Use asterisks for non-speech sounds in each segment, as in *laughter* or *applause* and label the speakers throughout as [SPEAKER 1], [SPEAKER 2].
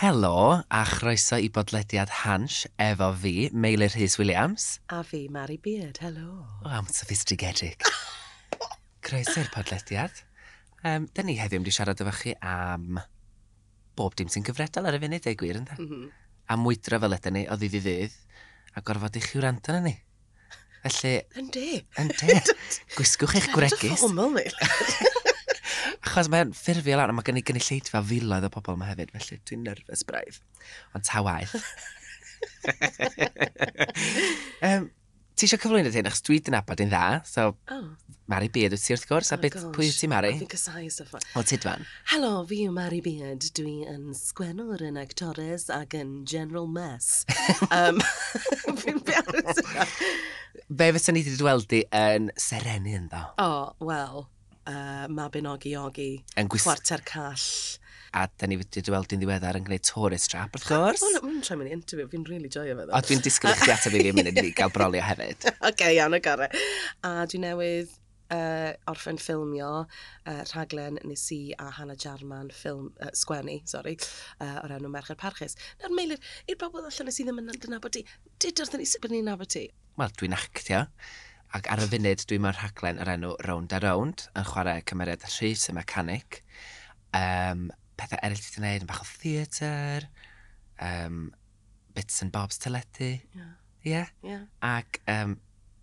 [SPEAKER 1] Helo, a chroeso i bodlediad Hansh efo fi, Meilir Rhys Williams.
[SPEAKER 2] A fi, Mary Beard, helo.
[SPEAKER 1] O, am sophistigedig. Croeso i'r podlediad. Um, Dyn ni heddiw wedi siarad efo chi am bob dim sy'n gyfredol ar y funud, ei gwir, ynda?
[SPEAKER 2] Mhm.
[SPEAKER 1] A mwydro fel ydyn ni o ddydd i ddydd, a gorfod i chi wrando na ni. Felly,
[SPEAKER 2] Yndi.
[SPEAKER 1] ynddi, gwisgwch eich gwregys,
[SPEAKER 2] Ffoml ni.
[SPEAKER 1] achos mae'n ffurfio lan, a mae gen i gynulleidfa filoedd o bobl yma hefyd, felly dwi'n nerfus braidd. Ond ta
[SPEAKER 2] *laughs*
[SPEAKER 1] waith. um, ti eisiau cyflwyno dyn, achos dwi dyn abod yn dda, so
[SPEAKER 2] Oh,
[SPEAKER 1] Mari Beard wyt ti wrth gwrs, a
[SPEAKER 2] oh
[SPEAKER 1] beth
[SPEAKER 2] gosh.
[SPEAKER 1] pwy wyt ti Mari?
[SPEAKER 2] Fi'n cysau stuff fan.
[SPEAKER 1] O Tidfan.
[SPEAKER 2] Helo, fi yw Mary Beard. Dwi yn sgwennwr yn actores ac yn general
[SPEAKER 1] *laughs*
[SPEAKER 2] mess. um, *laughs* fi'n bearus.
[SPEAKER 1] Be fysa ni wedi dweldi yn serenu yn ddo?
[SPEAKER 2] O, oh, wel, uh, Mabinogi Ogi,
[SPEAKER 1] Yn gwis...
[SPEAKER 2] Chwarter Call.
[SPEAKER 1] A da ni wedi dweldi'n ddiweddar yn gwneud tourist trap, wrth gwrs.
[SPEAKER 2] O, oh, mae'n trai mynd i interview, fi'n rili really joio fe ddo.
[SPEAKER 1] O, dwi'n disgwyl i chdi ateb i fi munud i gael brolio hefyd.
[SPEAKER 2] OK, iawn, y gore. A dwi newydd uh, orffen ffilmio uh, rhaglen nes i a Hannah Jarman ffilm, uh, sgwennu, sori, uh, o'r enw Merched Parchus. Nawr, Meilir, i'r bobl allan nes i ddim yn nabod ti, dyd wrth ni sut bod ni'n nabod ti?
[SPEAKER 1] Wel, dwi'n actio. Ac ar y funud, dwi'n mewn rhaglen o'r enw Round a Round, yn chwarae cymeriad Rhys y Mechanic. Um, pethau eraill ti'n gwneud, yn bach o theatr, um, bits and bobs teledu. Ie.
[SPEAKER 2] Ie.
[SPEAKER 1] Yeah.
[SPEAKER 2] Yeah.
[SPEAKER 1] Ac um,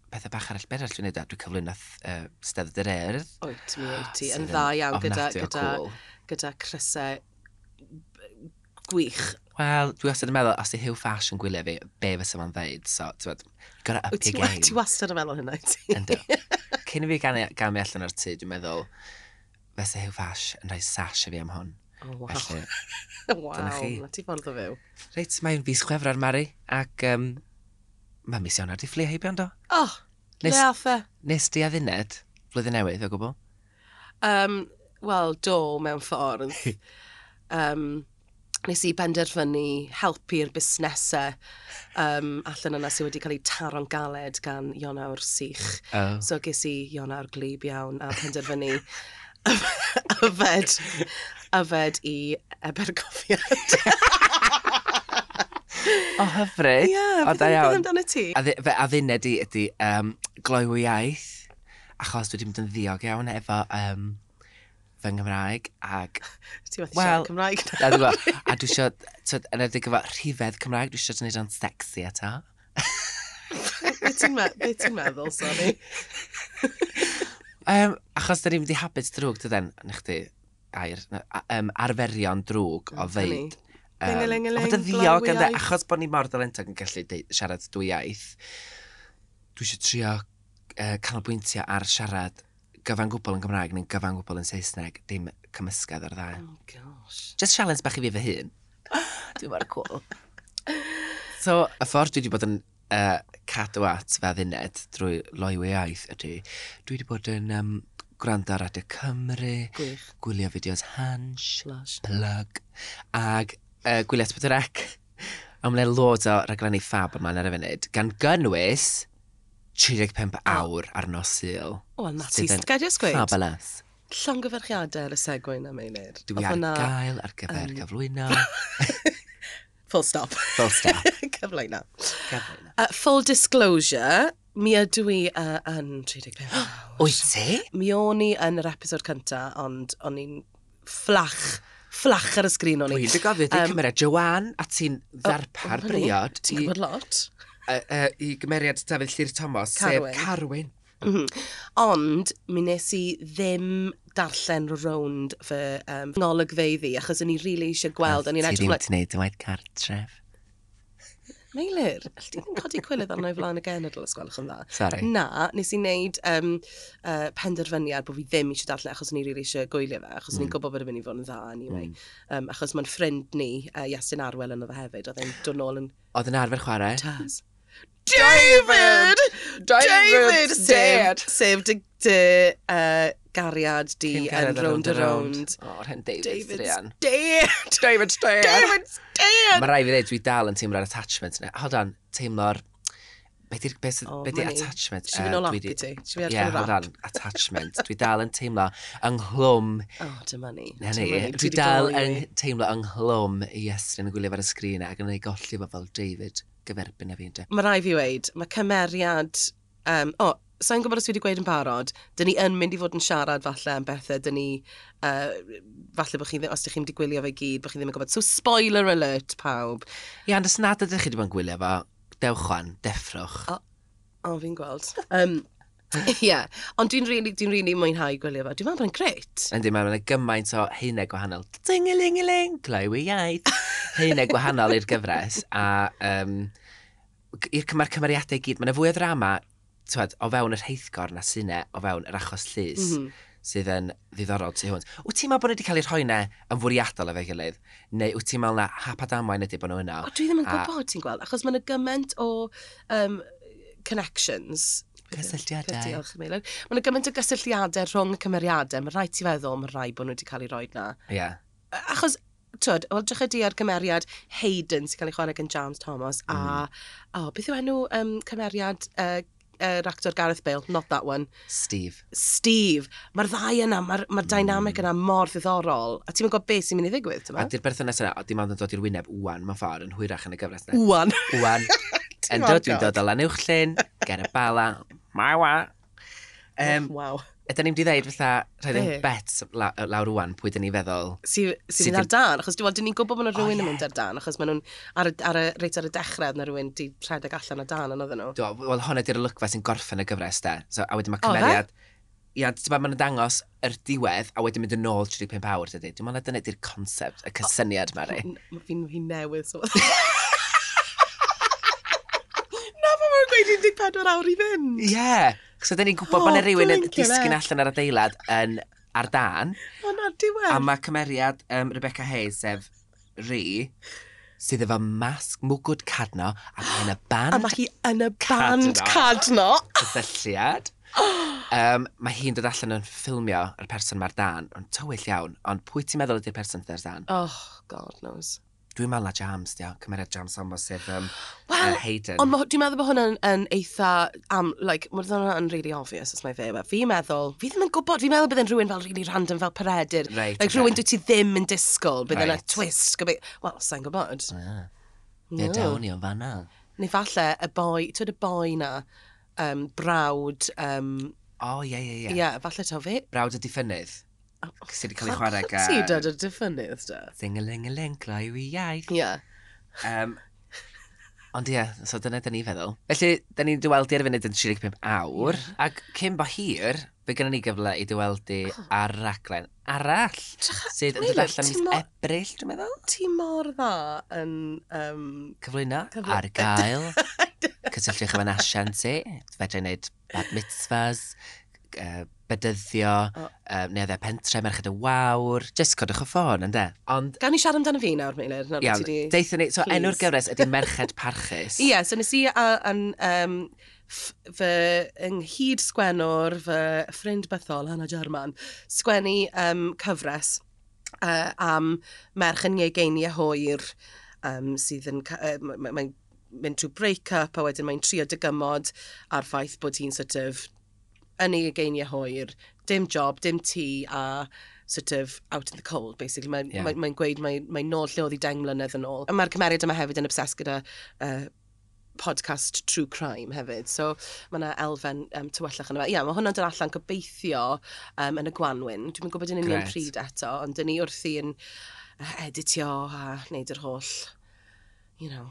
[SPEAKER 1] pethau bach arall, beth arall dwi'n gwneud, dwi'n cyflwyno uh, Steddfod yr Urdd.
[SPEAKER 2] Oed, mi oed ti, yn
[SPEAKER 1] sydd
[SPEAKER 2] dda iawn gyda,
[SPEAKER 1] ofnadwy o
[SPEAKER 2] gyda,
[SPEAKER 1] Cool.
[SPEAKER 2] gyda crysau b- gwych.
[SPEAKER 1] Wel, dwi wastad yn meddwl, os di Hugh Fash yn gwylio fi, be fysa ma'n ddeud? So, ti'n bod, gotta up
[SPEAKER 2] Wyt
[SPEAKER 1] your
[SPEAKER 2] ti,
[SPEAKER 1] game.
[SPEAKER 2] ti wastad yn meddwl hynna, ti?
[SPEAKER 1] Yndw. Cyn i fi ganu, gamu allan o'r tŷ, dwi'n meddwl, fysa Hugh Fash yn rhoi sash i fi am hon.
[SPEAKER 2] O, *laughs* oh, wow.
[SPEAKER 1] Felly,
[SPEAKER 2] Wow,
[SPEAKER 1] dyna chi.
[SPEAKER 2] na ti ffordd o fyw.
[SPEAKER 1] reit, mae'n fus chwefror, Mari, ac um, mae mis Ionar di fflio heibio yndo.
[SPEAKER 2] Oh,
[SPEAKER 1] Nes-
[SPEAKER 2] Nes... le aff e?
[SPEAKER 1] Nes di adduned, flwyddyn newydd o gwbl.
[SPEAKER 2] Um, Wel, do, mewn
[SPEAKER 1] *laughs*
[SPEAKER 2] ffordd. um, nes i benderfynu helpu'r busnesau um, allan yna sydd wedi cael eu taro'n galed gan Ionawr Sych.
[SPEAKER 1] Oh.
[SPEAKER 2] So ges i Ionawr Glib iawn a penderfynu *laughs* yf- yfed, yfed i
[SPEAKER 1] *laughs*
[SPEAKER 2] Ebergoffiad.
[SPEAKER 1] O hyfryd.
[SPEAKER 2] Ie,
[SPEAKER 1] o da iawn.
[SPEAKER 2] amdano ti?
[SPEAKER 1] A ddi- fe adduned i ydy um, gloiw iaith, achos dwi wedi mynd yn ddiog iawn efo um, fy Nghymraeg, ac
[SPEAKER 2] Ti wedi
[SPEAKER 1] Wel,
[SPEAKER 2] well, siarad Cymraeg
[SPEAKER 1] *laughs* A
[SPEAKER 2] na?
[SPEAKER 1] dwi fel, a dwi eisiau, twyd, yn edrych efo rhifedd Cymraeg, dwi eisiau gwneud o'n sexy eto.
[SPEAKER 2] Be ti'n me- be ti'n meddwl, sori?
[SPEAKER 1] Um, achos da ni'n mynd i habits drwg, dydyn, yn chdi, air, um, arferion drwg o
[SPEAKER 2] funny.
[SPEAKER 1] ddeud.
[SPEAKER 2] Dingalingaling,
[SPEAKER 1] Ond y ddiog,
[SPEAKER 2] glowy
[SPEAKER 1] ynde,
[SPEAKER 2] iaith.
[SPEAKER 1] achos bod ni mor dalentog yn gallu deud, siarad dwy iaith, dwi eisiau trio uh, canolbwyntio ar siarad gyfan gwbl yn Gymraeg neu'n gyfan gwbl yn Saesneg, dim cymysgedd ar ddau.
[SPEAKER 2] Oh, gosh.
[SPEAKER 1] Just challenge bach i fi fy hun. Dwi'n mor cool. So, y ffordd dwi wedi bod yn uh, cadw at fe dduned drwy loiwi iaith ydy, dwi wedi bod yn um, gwrando ar Radio Cymru,
[SPEAKER 2] Gwych.
[SPEAKER 1] gwylio fideos Hansh,
[SPEAKER 2] Slash.
[SPEAKER 1] plug, ag uh, gwylio Tbydorec. A mae'n loads o raglenni ffab ymlaen ar y funud, gan gynnwys 35 awr ar nos Sul.
[SPEAKER 2] Wel, na ti,
[SPEAKER 1] Sydd yn
[SPEAKER 2] gaidio sgweud?
[SPEAKER 1] Fabulous.
[SPEAKER 2] llongyfarchiadau ar y segwyn na Meilir.
[SPEAKER 1] Dwi
[SPEAKER 2] Oedd
[SPEAKER 1] ar
[SPEAKER 2] hwnna
[SPEAKER 1] gael ar gyfer
[SPEAKER 2] *laughs*
[SPEAKER 1] cyflwyno.
[SPEAKER 2] Full stop. *laughs*
[SPEAKER 1] Full stop.
[SPEAKER 2] Cyfle na.
[SPEAKER 1] Cyflwyno.
[SPEAKER 2] Uh, full disclosure, mi ydw i uh, yn 35 awr.
[SPEAKER 1] *gasps* Wyt ti?
[SPEAKER 2] Mi o'n i yn yr episod cynta, ond o'n i'n fflach, fflach ar y sgrin o'n i.
[SPEAKER 1] Dwi'n dy gofio, dwi'n um, cymeriad Joanne, a ti'n ddarpar
[SPEAKER 2] hynny,
[SPEAKER 1] briod i,
[SPEAKER 2] Ti'n gwybod lot?
[SPEAKER 1] yy, yy, i gymeriad Dafydd Llyr Thomas, sef
[SPEAKER 2] Carwyn.
[SPEAKER 1] Carwyn.
[SPEAKER 2] Mhm. Ond, mi nes i ddim darllen rownd fy um, ngolygfeiddi, achos o'n i rili eisiau gweld, o'n i'n edrych ymlaen-
[SPEAKER 1] ti wneud y waith cartref.
[SPEAKER 2] Meilir, allai di ddim codi cwilydd arno i flaen y genedl os gwelwch yn dda.
[SPEAKER 1] Sorry.
[SPEAKER 2] Na, nes i wneud um, uh, penderfyniad bod fi ddim eisiau darllen achos ni rili eisiau gwylio fe, achos mm. ni'n gwybod bod yn mynd i fod yn dda anyway. Mm. Um, achos mae'n ffrind ni, uh, Iestyn Arwel yn oedd e hefyd, oedd e'n dod nôl yn
[SPEAKER 1] Oedd yn arfer chwarae.
[SPEAKER 2] tas. David! David! Sef, sef dy, dy uh, gariad di
[SPEAKER 1] Cyn
[SPEAKER 2] yn
[SPEAKER 1] cariad ar
[SPEAKER 2] round a round.
[SPEAKER 1] O, rhen David
[SPEAKER 2] David's
[SPEAKER 1] Strian.
[SPEAKER 2] dead!
[SPEAKER 1] David Strian.
[SPEAKER 2] David's dead!
[SPEAKER 1] Mae rai fi ddweud, dwi dal yn teimlo'r attachment yna. Hold on, teimlo'r Be di'r be sydd-
[SPEAKER 2] O,
[SPEAKER 1] be di
[SPEAKER 2] ma' ni.
[SPEAKER 1] attachment?
[SPEAKER 2] Ti'n mynd o lap i ti? Ti'n
[SPEAKER 1] Ie,
[SPEAKER 2] mynd allan
[SPEAKER 1] yeah,
[SPEAKER 2] o
[SPEAKER 1] hold
[SPEAKER 2] rap? *laughs*
[SPEAKER 1] on, attachment. Dwi dal yn teimlo ynghlwm
[SPEAKER 2] O, Oh, dyma ni.
[SPEAKER 1] Na
[SPEAKER 2] dyma
[SPEAKER 1] ni,
[SPEAKER 2] Dwi
[SPEAKER 1] dwi
[SPEAKER 2] 'di
[SPEAKER 1] dal
[SPEAKER 2] gloi.
[SPEAKER 1] yn teimlo ynghlwm i Estrin yn gwylio ar y sgrin ac yn ei golli fo fel David gyferbyn a fi ynddo.
[SPEAKER 2] Mae rai fi weid, mae cymeriad... Um, o, oh, sa'n gwybod os wedi gweud yn barod, dyn ni yn mynd i fod yn siarad falle am bethau, dyn ni... Uh, falle bod chi ddim, os ydych chi'n mynd i gwylio fe i gyd, bod chi ddim yn gwybod. So, spoiler alert, pawb.
[SPEAKER 1] Ie, ond os nad ydych chi wedi bod yn gwylio fo, dewch chwan, deffrwch.
[SPEAKER 2] O, O, fi'n *laughs* gweld. Um, Ie, yeah. ond dwi'n rili dwi really mwynhau gwylio fo. Dwi'n meddwl bod yn gret.
[SPEAKER 1] Yndi, mae yna gymaint o heine gwahanol. Ting-a-ling-a-ling, glaiw iaith. Heine gwahanol i'r gyfres. A um, i'r cyma'r cymeriadau i gyd, mae yna fwy o ddrama twad, o fewn yr heithgor na syne, o fewn yr achos llys,
[SPEAKER 2] Mhm.
[SPEAKER 1] sydd yn ddiddorol tu hwnt. Wyt ti'n meddwl bod nhw wedi cael eu rhoi'n e yn fwriadol efo'i gilydd? Neu wyt ti'n meddwl na hapad amwain ydy bod nhw yna?
[SPEAKER 2] O, dwi ddim yn
[SPEAKER 1] A-
[SPEAKER 2] gwybod, ti'n gweld, achos mae yna gymaint o um, connections.
[SPEAKER 1] Cysylltiadau.
[SPEAKER 2] Diolch, Meilen. Mae yna gymaint o gysylltiadau rhwng y cymeriadau. Mae rhaid ti feddwl, mae rhaid bod nhw wedi cael eu rhoi na.
[SPEAKER 1] Ie. Yeah.
[SPEAKER 2] Achos, twyd, wel, drych ydi ar cymeriad Hayden sy'n cael ei chwarae gan James Thomas,
[SPEAKER 1] Mhm.
[SPEAKER 2] a, o, beth yw enw um, cymeriad uh, uh, actor Gareth Bale, not that one,
[SPEAKER 1] Steve.
[SPEAKER 2] Steve, mae'r ddau yna, mae'r ma dynamic yna mor ddiddorol, a ti'n gwybod beth sy'n mynd i ddigwydd, ti'n
[SPEAKER 1] Mm. A
[SPEAKER 2] meddwl?
[SPEAKER 1] di'r berthynas yna, o, dim ond yn dod i'r wyneb wwan, mae'n ffordd yn hwyrach yn y gyfres yna.
[SPEAKER 2] Wwan.
[SPEAKER 1] Wwan, *laughs* yn
[SPEAKER 2] ond
[SPEAKER 1] dod, dwi'n dod o lan uwch llyn, ger y bala, mawa. Um,
[SPEAKER 2] Waw.
[SPEAKER 1] Ydyn ni'n di ddeud fatha, rhaid
[SPEAKER 2] Be?
[SPEAKER 1] i'n bet la, lawr wwan, pwy dyn ni feddwl.
[SPEAKER 2] sy'n sy
[SPEAKER 1] Sydd
[SPEAKER 2] mynd ar
[SPEAKER 1] yn-
[SPEAKER 2] dan, achos dwi'n dyn ni'n gwybod bod yna
[SPEAKER 1] O,
[SPEAKER 2] rhywun yn
[SPEAKER 1] ie.
[SPEAKER 2] mynd ar dan, achos maen nhw'n ar, y- ar y reit ar y dechrau, na rhywun di rhedeg allan ar dan yn oedden nhw.
[SPEAKER 1] Do, Wel, hwnna di'r olygfa sy'n gorffen y gyfres, de. So, a wedyn mae
[SPEAKER 2] O, fe?
[SPEAKER 1] cymeriad... Ia, ti'n ma'n dangos yr diwedd, a wedyn mynd yn ôl 35 awr, dydy. Dwi'n meddwl na dyna di'r concept, y cysyniad, Mary.
[SPEAKER 2] N- ma' Fi'n fi
[SPEAKER 1] *laughs*
[SPEAKER 2] newydd, so... Na, pan mae'n gweud 14 awr i fynd.
[SPEAKER 1] Ie! Yeah. So, dyn ni'n gwybod
[SPEAKER 2] O,
[SPEAKER 1] oh, bod yna rhywun yn
[SPEAKER 2] blinkin'
[SPEAKER 1] disgyn
[SPEAKER 2] heck.
[SPEAKER 1] allan ar adeilad yn ar dan,
[SPEAKER 2] O, na,
[SPEAKER 1] A
[SPEAKER 2] diwedd.
[SPEAKER 1] mae cymeriad um, Rebecca Hayes, sef Rhi, sydd efo masg mwgwd cadno a mae yna
[SPEAKER 2] A
[SPEAKER 1] band
[SPEAKER 2] mae hi yn y
[SPEAKER 1] Cadno.
[SPEAKER 2] band cadno.
[SPEAKER 1] cysylltiad. Um, mae hi'n dod allan yn ffilmio yr person mae'r dan, ond tywyll iawn, ond pwy ti'n meddwl ydy'r person sydd ar dan?
[SPEAKER 2] Oh, God knows.
[SPEAKER 1] Dwi'n meddwl na Jams, dio, cymeriad Jams Ombo sef um,
[SPEAKER 2] Wel,
[SPEAKER 1] uh, Hayden.
[SPEAKER 2] Ond ma- dwi'n meddwl bod hwnna'n yn eitha, am, like, mae hwnna'n really obvious os mae fe. but Fi'n meddwl, fi ddim yn gwybod, fi'n meddwl bydd yn rhywun fel really random fel peredur.
[SPEAKER 1] Reit,
[SPEAKER 2] like,
[SPEAKER 1] ocê.
[SPEAKER 2] rhywun dwi ti ddim yn disgwyl, bydd yna
[SPEAKER 1] Reit.
[SPEAKER 2] twist. Gobe... Wel, sa'n gwybod.
[SPEAKER 1] Ah,
[SPEAKER 2] No.
[SPEAKER 1] Ie, dawn ni o'n fanna.
[SPEAKER 2] Neu falle, y boi, twyd y boi na, um, brawd, um,
[SPEAKER 1] O, ie, ie,
[SPEAKER 2] ie,
[SPEAKER 1] ie.
[SPEAKER 2] yeah, falle to fi.
[SPEAKER 1] Brawd y diffynydd. Sydd wedi cael ei chwarae gan...
[SPEAKER 2] Ti dod o diffynydd, da.
[SPEAKER 1] Ding-a-ling-a-ling, glaiw i iaith.
[SPEAKER 2] Ie.
[SPEAKER 1] Um, ond ie, so dyna dyn ni feddwl. Felly, dyn ni'n dyweldu ar y funud yn 35 awr, ac cyn bo hir, fe gynnu ni gyfle i dyweldu ar raglen arall, sydd yn dod
[SPEAKER 2] Milo,
[SPEAKER 1] allan
[SPEAKER 2] ti
[SPEAKER 1] mis
[SPEAKER 2] mo-
[SPEAKER 1] Ebrill, dwi'n meddwl.
[SPEAKER 2] Ti mor dda yn... Um,
[SPEAKER 1] Cyflwyno
[SPEAKER 2] Cyflwy-
[SPEAKER 1] ar
[SPEAKER 2] *laughs*
[SPEAKER 1] gael, cysylltwch efo'n asianti, fedra i wneud bad mitzvahs, uh, bedyddio,
[SPEAKER 2] O.
[SPEAKER 1] uh, neuddau pentre, merched y wawr, jyst codwch y ffôn, ynde? Ond,
[SPEAKER 2] gan i siarad amdano fi nawr, Meilir. nawr
[SPEAKER 1] iawn,
[SPEAKER 2] ti 'di-
[SPEAKER 1] deitha ni, so enw'r
[SPEAKER 2] Please.
[SPEAKER 1] gyfres
[SPEAKER 2] *laughs*
[SPEAKER 1] ydy merched parchus.
[SPEAKER 2] Ie, so nes i a- yn um, f- fy ynghyd sgwenwr, fy ffrind bythol, Hannah German, sgwennu um, cyfres uh, am merch yn iegeiniau hwyr um, sydd yn... ca- Yy, mae'n ma, mae'n mynd trwy break-up a wedyn mae'n trio dygymod ar ffaith bod hi'n sort of yn ei geiniau hwyr, dim job, dim tŷ a sort of out in the cold, basically. Mae'n
[SPEAKER 1] Ie.
[SPEAKER 2] yeah. mae, mae gweud mae, mae nôl lle oedd hi deng mlynedd yn ôl. A mae'r cymeriad yma hefyd yn obsessed gyda uh, podcast True Crime hefyd. So mae yna elfen um, tywellach yna. Ie, yeah, mae hwnna'n dod allan gobeithio um, yn y Gwanwyn. Dwi'n gwybod yn union
[SPEAKER 1] Grêt.
[SPEAKER 2] pryd eto, ond dyn ni wrthi yn yy, editio a wneud yr holl, you know,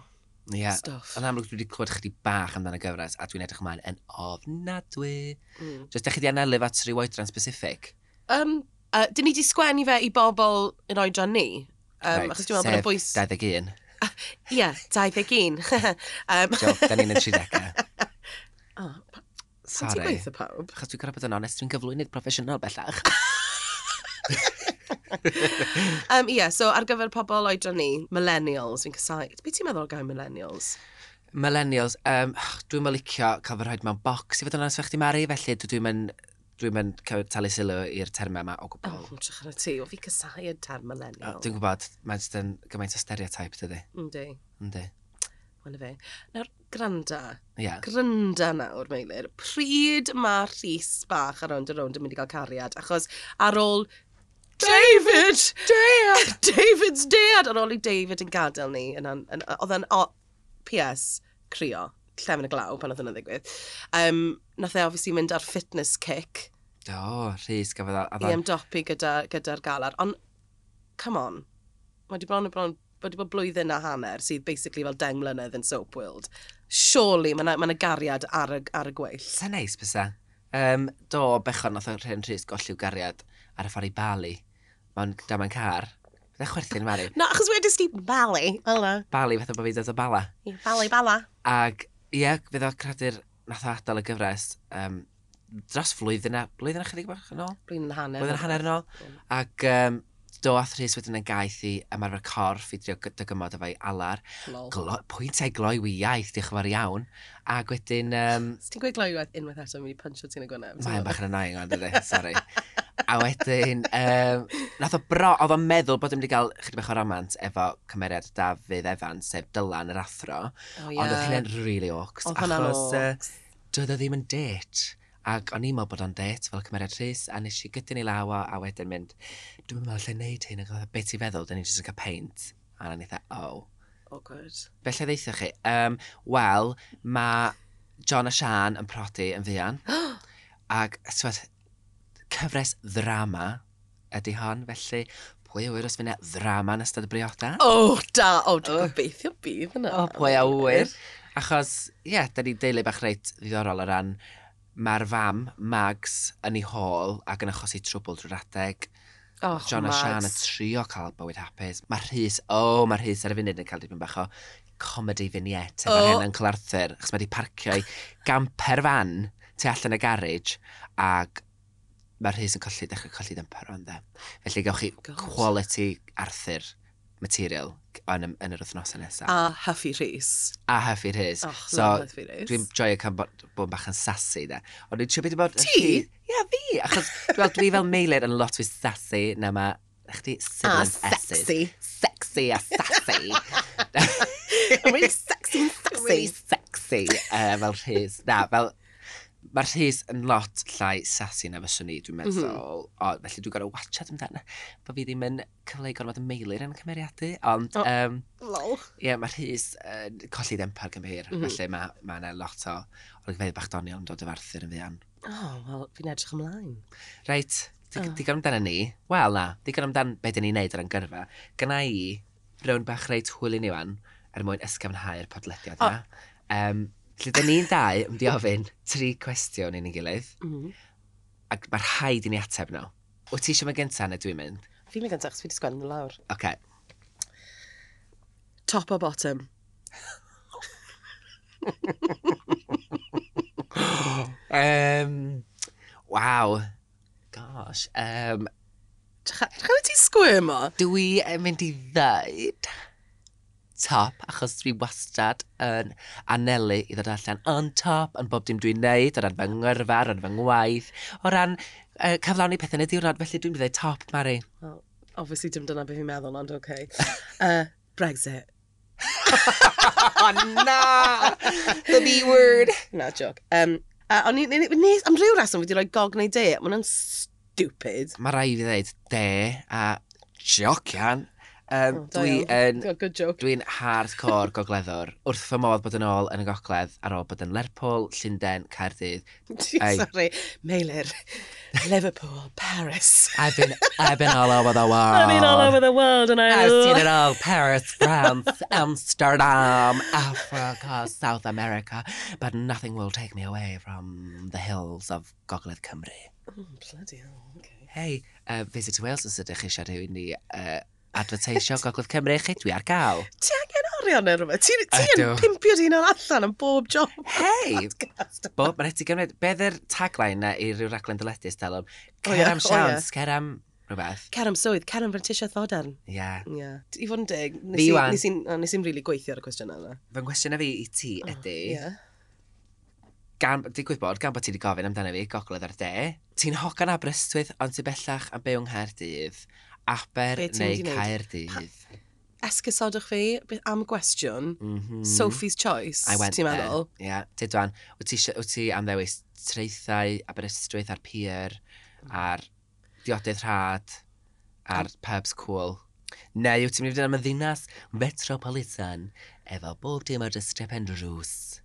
[SPEAKER 1] Ie.
[SPEAKER 2] stuff.
[SPEAKER 1] Yn amlwg, dwi wedi clywed chdi bach amdano y gyfres, a dwi'n edrych ymlaen yn ofnadwy.
[SPEAKER 2] Mm.
[SPEAKER 1] Jyst, da chi di analu fat rhyw oedran specific?
[SPEAKER 2] Um, uh, dyn ni wedi sgwennu fe i bobl yn oedran ni. Um,
[SPEAKER 1] Reit,
[SPEAKER 2] achos dwi'n meddwl bod y bwys...
[SPEAKER 1] Sef 21.
[SPEAKER 2] Ie, yeah, *laughs* 21. um, *laughs*
[SPEAKER 1] Jo, da ni'n y 30.
[SPEAKER 2] oh, pan ti'n
[SPEAKER 1] Sorry.
[SPEAKER 2] gweithio pawb?
[SPEAKER 1] Achos dwi'n gorau bod yn onest, dwi'n gyflwynydd proffesiynol bellach.
[SPEAKER 2] Um, Ie, yeah, so ar gyfer pobl oedran ni, millennials, fi'n casau. Be ti'n meddwl o gael millennials?
[SPEAKER 1] Millennials, um, dwi'n mynd licio cael fy rhoed mewn bocs i fod yn onest fe chdi Mari, felly dwi- dwi'n mynd dwi'n mynd cael talu sylw i'r termau yma o
[SPEAKER 2] Oh,
[SPEAKER 1] gwbl.
[SPEAKER 2] oh trach ar y ti, o fi casau y term millennial.
[SPEAKER 1] Dwi'n gwybod, mae'n jyst yn gymaint o stereotype, dydy.
[SPEAKER 2] Yndi.
[SPEAKER 1] Yndi.
[SPEAKER 2] Mae'n fe. e. Nawr, granda.
[SPEAKER 1] Ie.
[SPEAKER 2] Granda nawr, Meilir. Pryd mae Rhys bach ar ond y rownd yn mynd i gael cariad? Achos ar ôl David! Dad! *laughs* David's dad! Ar ôl i David yn gadael ni, yn an- yn- oedd yn, o, PS, crio, llefen y glaw pan oedd yna ddigwydd. Um, nath e, obviously, mynd ar fitness kick
[SPEAKER 1] O, Rhys gafodd a- a
[SPEAKER 2] i
[SPEAKER 1] dda.
[SPEAKER 2] ymdopi gyda'r gyda gyda'r galar. Ond, come on, mae di bron y bron, mae di bod blwyddyn a hanner sydd basically fel deng mlynedd yn soap world. Surely, mae yna ma 'na gariad ar y, ar y gweill.
[SPEAKER 1] Sa'n neis bysa. Um, do, bechon nath o'n rhen Rhys golliw gariad ar y ffordd i Bali. Mae'n dama'n car. Fydda chwerthin Mari.
[SPEAKER 2] No, achos wedys di bali. Ola.
[SPEAKER 1] Bali fatha bod fi dod o Bala.
[SPEAKER 2] Bali, bala.
[SPEAKER 1] Ag ie, fydd o credu'r nath o adael y gyfres um, dros flwyddyn a, blwyddyn a chydig bach yn ôl?
[SPEAKER 2] Blwyddyn a hanner.
[SPEAKER 1] Blwyddyn a hanner yn ôl. Ac um, do ath Rhys wedyn yn gaeth i ymarfer corff i drio gy- dygymod efo'i alar.
[SPEAKER 2] Lol.
[SPEAKER 1] Glo, pwyntiau gloi wy iaith, diolch yn fawr iawn. Ac wedyn, um,
[SPEAKER 2] Os ti'n gweud glywed unwaith eto, mi'n punchio ti'n y gwneud.
[SPEAKER 1] mae'n bach yn annoying ond ydy, sori. A wedyn, um, nath o bro, oedd o'n meddwl bod yn mynd i gael chydig bach o romant efo cymeriad Dafydd Evans, sef Dylan yr Athro.
[SPEAKER 2] Oh,
[SPEAKER 1] Ond oedd hynna'n really awks.
[SPEAKER 2] Oedd hwnna'n
[SPEAKER 1] Achos uh, doedd o ddim yn date. Ac o'n i'n meddwl bod o'n date fel cymeriad Rhys, a nes i gydyn i lawa a wedyn mynd, dwi'n meddwl lle wneud hyn, ac oedd o, beth i feddwl, dyn ni'n just yn cael paint. A na'n eitha, oh.
[SPEAKER 2] Awkward.
[SPEAKER 1] Be lle ddeitha chi? Um, Wel, mae John a Sian yn prodi yn fuan. ac, twed, cyfres ddrama ydy hon, felly pwy a wyr os fyna ddrama yn ystod y brioda?
[SPEAKER 2] O, oh, da. O, oh, dwi'n gobeithio bydd yna.
[SPEAKER 1] O, pwy a wyr. Achos, ie, yeah, da ni deulu bach reit ddiddorol o ran mae'r fam, Mags, yn ei hôl ac yn achosi trwbl drwy'r adeg.
[SPEAKER 2] Oh,
[SPEAKER 1] John a Sian yn trio cael bywyd hapus. Mae Rhys, o, oh, mae Rhys ar y funud yn cael dipyn bach o comedy vignette efo'r
[SPEAKER 2] O.
[SPEAKER 1] oh. hen yn Cl Arthur, achos mae wedi parcio ei gamper fan tu allan y garage ac mae Rhys yn colli, dechrau colli dymper o'n dde. Felly gewch chi
[SPEAKER 2] God.
[SPEAKER 1] quality Arthur material yn, y- yn yr wythnosau nesaf
[SPEAKER 2] A Huffy Rhys.
[SPEAKER 1] a hefyd his.
[SPEAKER 2] Och,
[SPEAKER 1] so,
[SPEAKER 2] love Huffy Rhys.
[SPEAKER 1] dwi'n joio cael bod, bod yn bach yn sassy da. Ond dwi'n siŵr beth i bod...
[SPEAKER 2] Ti?
[SPEAKER 1] Ie, yeah, fi. Achos dwi'n dwi fel meilir yn lot fwy sassy na ma... Chdi
[SPEAKER 2] A
[SPEAKER 1] sibilance S's.
[SPEAKER 2] Ah, sexy.
[SPEAKER 1] Sexy a
[SPEAKER 2] *laughs*
[SPEAKER 1] sassy.
[SPEAKER 2] Really sexy and
[SPEAKER 1] really
[SPEAKER 2] sexy.
[SPEAKER 1] sexy uh, fel Rhys. Na, fel... Mae'r Rhys yn lot llai sassy na fyswn i,
[SPEAKER 2] Mhm.
[SPEAKER 1] dwi'n meddwl. O, felly dwi'n gorau watchad amdano. Bo fi ddim yn cyfleu gormod y meilir yn y cymeriadu. Ond,
[SPEAKER 2] O.
[SPEAKER 1] um,
[SPEAKER 2] Lol.
[SPEAKER 1] Ie, yeah, mae Rhys yn uh, colli ddempar gymhyr, mm
[SPEAKER 2] Mhm.
[SPEAKER 1] -hmm. felly mae ma yna lot o olygfeidd bach doniol yn dod o Arthur yn fuan.
[SPEAKER 2] O, oh, wel, fi'n edrych ymlaen.
[SPEAKER 1] Reit, di,
[SPEAKER 2] O.
[SPEAKER 1] oh. digon amdano ni. Wel na, digon amdan be dyn ni'n neud ar yn gyrfa. Gynna i, rwy'n bach reit hwyl i ni wan, er mwyn ysgafnhau'r podlediad
[SPEAKER 2] O.
[SPEAKER 1] yma. Um, Felly, dyn ni'n dau yn mynd i ofyn tri cwestiwn i ni gilydd,
[SPEAKER 2] Mm.
[SPEAKER 1] ac mae'r rhaid i ni ateb nhw. Wyt ti eisiau mynd gyntaf neu dwi'n mynd?
[SPEAKER 2] Fi'n mynd gyntaf, chos fi wedi sgwennu nhw lawr.
[SPEAKER 1] Oce. Okay.
[SPEAKER 2] Top o bottom.
[SPEAKER 1] Um, wow. Gosh. Um,
[SPEAKER 2] Chawr ti sgwym o?
[SPEAKER 1] Dwi yn e, mynd i ddeud top, achos dwi wastad yn anelu i ddod allan on top yn bob dim dwi'n neud, o ran fy ngyrfa, o ran fy ngwaith, o ran uh, cyflawni pethau yn y diwrnod, felly dwi'n mynd i ddweud top, *laughs* Mari.
[SPEAKER 2] Well, obviously dim dyna beth fi'n meddwl, ond *laughs* okay. Uh, Brexit.
[SPEAKER 1] Oh, na! The B word!
[SPEAKER 2] *laughs* Na, joc. Um, uh, o'n i'n... nes- Am rhyw reswm fi wedi rhoi gog neu de. Mae hwnna'n stupid.
[SPEAKER 1] Mae rai i fi ddweud de a jocian. Um,
[SPEAKER 2] O, da
[SPEAKER 1] dwi
[SPEAKER 2] iawn.
[SPEAKER 1] yn
[SPEAKER 2] Oh, Good joke.
[SPEAKER 1] Dwi'n hardcore gogleddwr. Wrth fy modd bod yn ôl yn y gogledd ar ôl bod yn Lerpwl, Llundain, Caerdydd. Ei.
[SPEAKER 2] *laughs* Sorry. Mailer. Liverpool. Paris.
[SPEAKER 1] I've been, I've been all over the world.
[SPEAKER 2] *laughs* I've been
[SPEAKER 1] Oh.
[SPEAKER 2] all over the world and I...
[SPEAKER 1] I've seen it all. Paris, France, Amsterdam, Africa, South America. But nothing will take me away from the hills of Gogledd Cymru.
[SPEAKER 2] *laughs* Oh, bloody hell. Okay.
[SPEAKER 1] Hei, uh, Visit Wales os ydych chi eisiau rhywun i uh, advertisio Gogledd Cymru chi, dwi ar gael.
[SPEAKER 2] Ti angen orion neu rhywbeth? Ti, ti yn
[SPEAKER 1] Ydw.
[SPEAKER 2] pimpio dyn nhw'n allan yn bob job. *laughs*
[SPEAKER 1] Hei!
[SPEAKER 2] Podcast.
[SPEAKER 1] Bo, mae'n rhaid i gymryd, beth yw'r tagline na i ryw raglen dyledus, Delwm?
[SPEAKER 2] O ie,
[SPEAKER 1] Cer am
[SPEAKER 2] o ie.
[SPEAKER 1] siawns, cer am rhywbeth.
[SPEAKER 2] Cer am swydd, cer am frentisio ddodern.
[SPEAKER 1] Ie. Yeah.
[SPEAKER 2] Ie. Yeah. I fod yn deg, nes
[SPEAKER 1] Fi
[SPEAKER 2] i-
[SPEAKER 1] wan.
[SPEAKER 2] nes i'n o, nes i'n rili gweithio ar y cwestiynau yna.
[SPEAKER 1] Fy nghwestiwn fi i ti ydy,
[SPEAKER 2] Ie. Oh, Yeah.
[SPEAKER 1] gan, digwydd bod, gan bod ti wedi gofyn amdano fi, gogledd ar de, ti'n hogan Aberystwyth, ond ti bellach am byw yng Nghaerdydd, Aber
[SPEAKER 2] Be' ti'n
[SPEAKER 1] neu
[SPEAKER 2] mynd i neud?
[SPEAKER 1] Caerdydd.
[SPEAKER 2] esgusodwch fi be- am y gwestiwn,
[SPEAKER 1] Mm -hmm.
[SPEAKER 2] Sophie's Choice,
[SPEAKER 1] I went
[SPEAKER 2] ti'n
[SPEAKER 1] there.
[SPEAKER 2] meddwl?
[SPEAKER 1] Ie, yeah. ti dwan, wyt ti, isio- wyt ti am ddewis traethau Aberystwyth a'r pier, a'r diodydd rhad, a'r pubs cool. Neu wyt ti'n mynd i fynd am y ddinas metropolitan, efo bob dim o'r strepen drws.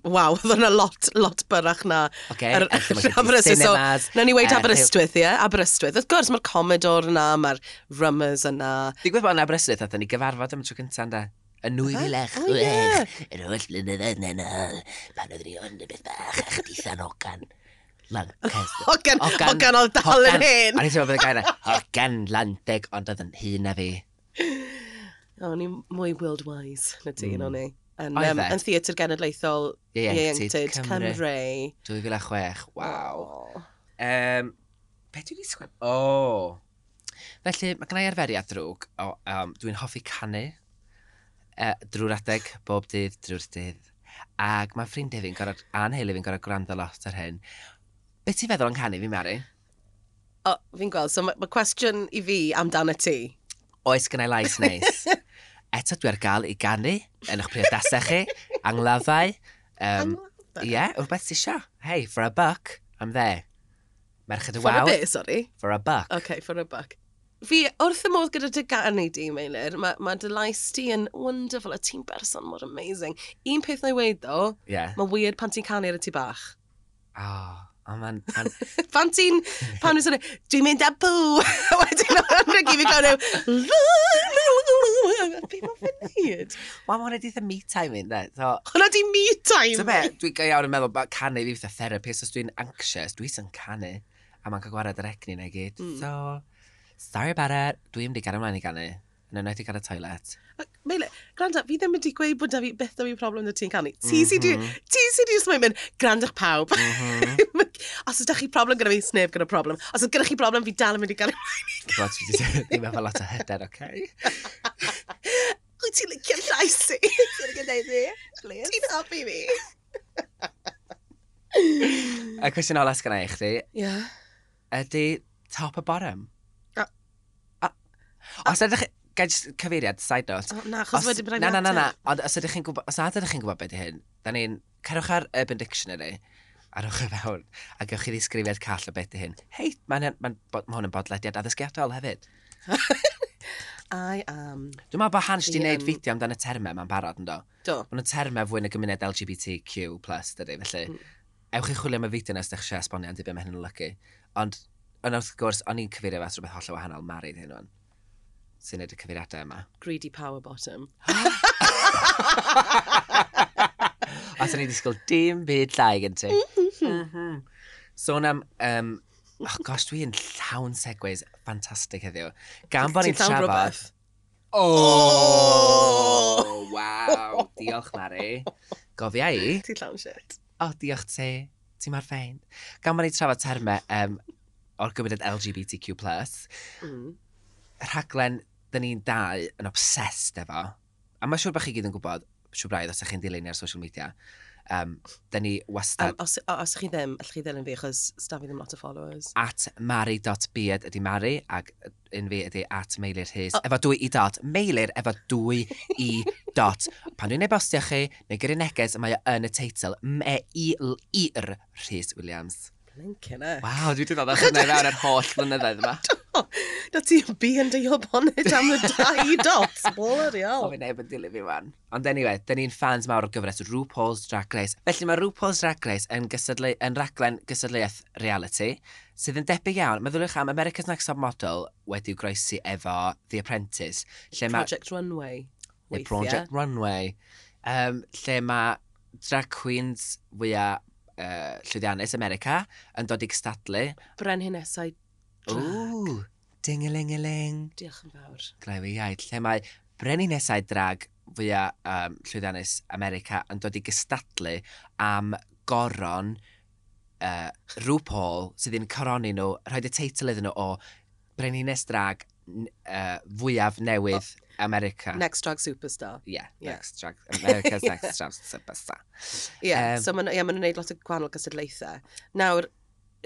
[SPEAKER 2] Waw, oedd hwnna lot, lot byrach na.
[SPEAKER 1] Oce,
[SPEAKER 2] Yr-
[SPEAKER 1] a lle mae gen ti
[SPEAKER 2] Aberystwyth, so,
[SPEAKER 1] cinemas,
[SPEAKER 2] Nawn ni weid
[SPEAKER 1] yy,
[SPEAKER 2] Aberystwyth, ie? Aberystwyth. Wrth gwrs, mae'r Commodore yna, mae'r Rummers yna.
[SPEAKER 1] Digwydd bod yn Aberystwyth, aethon ni gyfarfod am y tro cyntaf, ynda. Y nwy
[SPEAKER 2] Oedd e?
[SPEAKER 1] filech,
[SPEAKER 2] O, ie.
[SPEAKER 1] yr holl blynyddoedd yn ôl, pan oeddwn i ond y beth bach a chdithan ogan. Lancaster.
[SPEAKER 2] Hogan, Hogan oedd dal yn hen.
[SPEAKER 1] A ni'n teimlo bydd y gair yna, hogan lanteg, ond oedd yn hun na fi.
[SPEAKER 2] O'n ni mwy world-wise na ti,
[SPEAKER 1] Mm.
[SPEAKER 2] mm. o'n i. Yn,
[SPEAKER 1] Oedd
[SPEAKER 2] um,
[SPEAKER 1] e?
[SPEAKER 2] yn Theatr Genedlaethol
[SPEAKER 1] Ieuenctid,
[SPEAKER 2] Ieuenctid
[SPEAKER 1] Cymru.
[SPEAKER 2] Cymru.
[SPEAKER 1] 2006, waw.
[SPEAKER 2] O.
[SPEAKER 1] Um, be dwi'n i sgwem? O! Felly, mae gen i arferiad drwg. O, um, dwi'n hoffi canu uh, drwy'r adeg, bob dydd, drwy'r dydd. Ac mae ffrindiau e fi'n gorau, a'n heulu fi'n gorau gwrando lot ar hyn. Be ti'n feddwl yn canu fi, Mari?
[SPEAKER 2] O, fi'n gweld, so mae ma cwestiwn i fi amdano ti.
[SPEAKER 1] Oes gen i lais
[SPEAKER 2] *laughs*
[SPEAKER 1] neis. Eto dwi ar gael i ganu yn eich priodasau chi, angladdau. Um, Ie, yeah, rhywbeth ti isio. Hey, for a buck, I'm there. Merched y
[SPEAKER 2] For a
[SPEAKER 1] waw,
[SPEAKER 2] bit, sorry.
[SPEAKER 1] for a buck.
[SPEAKER 2] OK, for a buck. Fi, wrth y modd gyda dy ganu di, Meilir, mae ma dy lais ti yn wonderful, a ti'n berson mor amazing. Un peth na i weid, ddo,
[SPEAKER 1] Yeah.
[SPEAKER 2] mae weird pan ti'n canu'r y ti bach.
[SPEAKER 1] Oh, oh man, man.
[SPEAKER 2] Pan ti'n, pan ti'n sôn, dwi'n mynd â bw, a wedyn o'n rhaid i fi gael nhw, be mae'n fynd?
[SPEAKER 1] Wel, mae hwnna di eitha me time in, de. So,
[SPEAKER 2] Hwna di me time.
[SPEAKER 1] so be, dwi'n gael iawn yn meddwl, mae canu fi fatha therapist, os dwi'n anxious, dwi'n sy'n canu, a mae'n cael gwared yr egni na i gyd.
[SPEAKER 2] Mm.
[SPEAKER 1] So, sorry about it, dwi'n mynd i ganu mlaen i ganu. Yn yna i ganu toilet.
[SPEAKER 2] Meile, gwranda, fi ddim wedi gweud bod da fi beth da fi problem da ti'n canu. Ti sydd wedi,
[SPEAKER 1] Mhm.
[SPEAKER 2] ti sydd wedi just mynd, mynd, gwranda'ch pawb.
[SPEAKER 1] Mhm.
[SPEAKER 2] Os ydych chi problem gyda fi, sneb gyda problem. Os ydych gyda chi problem, fi dal yn mynd i gael.
[SPEAKER 1] Dwi'n bod ti wedi ddim efo lot o hyder, oce?
[SPEAKER 2] Wyt ti'n licio llais i? Ti'n gwneud fi? Ti'n helpu fi?
[SPEAKER 1] Y cwestiwn ola sgan i chdi,
[SPEAKER 2] Ie.
[SPEAKER 1] ydy top a bottom?
[SPEAKER 2] A-
[SPEAKER 1] A- Os ydych chi... Gael jyst cyfeiriad, side note.
[SPEAKER 2] O, Na,
[SPEAKER 1] Os-
[SPEAKER 2] achos wedi brai'n
[SPEAKER 1] Na, na, na, na. Ond os ydych chi'n gwybod, os nad ydych chi'n gwybod beth hyn, da ni'n cerwch ar Urban Dictionary, arwch y fewn, a gewch chi ddisgrifiad call o beth hyn. Hei, mae hyn- mae'n bod- ma' hwn yn bodlediad addysgiadol hefyd.
[SPEAKER 2] I am.
[SPEAKER 1] Dwi'n meddwl bod Hans di
[SPEAKER 2] Ie,
[SPEAKER 1] wneud
[SPEAKER 2] yym.
[SPEAKER 1] fideo amdan y termau mae'n barod yn do.
[SPEAKER 2] Do.
[SPEAKER 1] Mae'n termau fwy na gymuned LGBTQ+, dydy, felly.
[SPEAKER 2] Mm.
[SPEAKER 1] Ewch chi chwilio am y fideo nes ydych chi eisiau esbonio am dibyn mae hyn yn lygu. Ond, ond wrth gwrs, o'n i'n cyfeirio fas rhywbeth holl o wahanol Mari hyn o'n. Sy'n neud y cyfeiriadau yma.
[SPEAKER 2] Greedy power bottom.
[SPEAKER 1] Os o'n i disgwyl dim byd llai gen ti. Mhm. Sôn am... Um, oh gosh, dwi'n llawn segways ffantastig heddiw. Gan bod ni'n
[SPEAKER 2] Ti'n llawn
[SPEAKER 1] trafod...
[SPEAKER 2] rhywbeth?
[SPEAKER 1] Oh! Waw! Diolch, Mari. Gofia i.
[SPEAKER 2] Ti'n llawn shit.
[SPEAKER 1] O, oh, diolch ti. Ti mor ffein. Gan bod ni'n trafod termau um, o'r gymuned LGBTQ+,
[SPEAKER 2] Mm.
[SPEAKER 1] rhaglen dyn ni'n dau yn obsessed efo, a mae siŵr bod chi gyd yn gwybod, siŵr braidd os ydych chi'n dilyn ni ar social media, um, dyn ni
[SPEAKER 2] Um,
[SPEAKER 1] wastad um,
[SPEAKER 2] os, o- os chi ddim, allwch chi ddilyn fi, achos staf i ddim lot o followers.
[SPEAKER 1] at mari.beard ydy Mari, ac un fi ydy at meilir his, efo dwy i dot, meilir efo dwy *laughs* i dot. Pan dwi'n ei bostio chi, neu gyrru neges, mae o yn y teitl, E me-i-l-ir Rhys Williams.
[SPEAKER 2] Blinkin' e.
[SPEAKER 1] Waw, dwi wedi dod â hynny fewn yr holl blynyddoedd yma.
[SPEAKER 2] Na ti'n bu yn dy job honnet am y
[SPEAKER 1] *laughs*
[SPEAKER 2] dau dots. Bloody
[SPEAKER 1] O,
[SPEAKER 2] hell.
[SPEAKER 1] fe neb yn dilyn fi fan. Ond anyway, dyn ni'n fans mawr o gyfres RuPaul's Drag Race. Felly mae RuPaul's Drag Race yn, gysadle... yn raglen gysadleuaeth reality, sydd yn debyg iawn. Meddwlwch am America's Next Top Model wedi'w groesi efo The Apprentice. Lle ma-
[SPEAKER 2] Project Runway.
[SPEAKER 1] neu
[SPEAKER 2] Weithiau.
[SPEAKER 1] Project Runway. Um, lle mae drag queens fwyaf uh, llwyddiannus America yn dod i gystadlu.
[SPEAKER 2] Brenhinesau.
[SPEAKER 1] Ww, ding-a-ling-a-ling.
[SPEAKER 2] Diolch yn fawr.
[SPEAKER 1] Glaiw i iaith, lle mae brenu nesau drag fwyaf um, llwyddiannus America yn dod i gystadlu am goron uh, RuPaul sydd yn coroni nhw, rhoed y teitl iddyn nhw o Brenines Drag uh, fwyaf newydd America.
[SPEAKER 2] Next Drag Superstar.
[SPEAKER 1] yeah,
[SPEAKER 2] Yeah.
[SPEAKER 1] next drag. America's
[SPEAKER 2] Yeah. *laughs*
[SPEAKER 1] next drag superstar.
[SPEAKER 2] Ie, yeah,
[SPEAKER 1] Yym.
[SPEAKER 2] so ma'n yeah, ma nhw'n gwneud lot o gwahanol gystadlaethau. Nawr,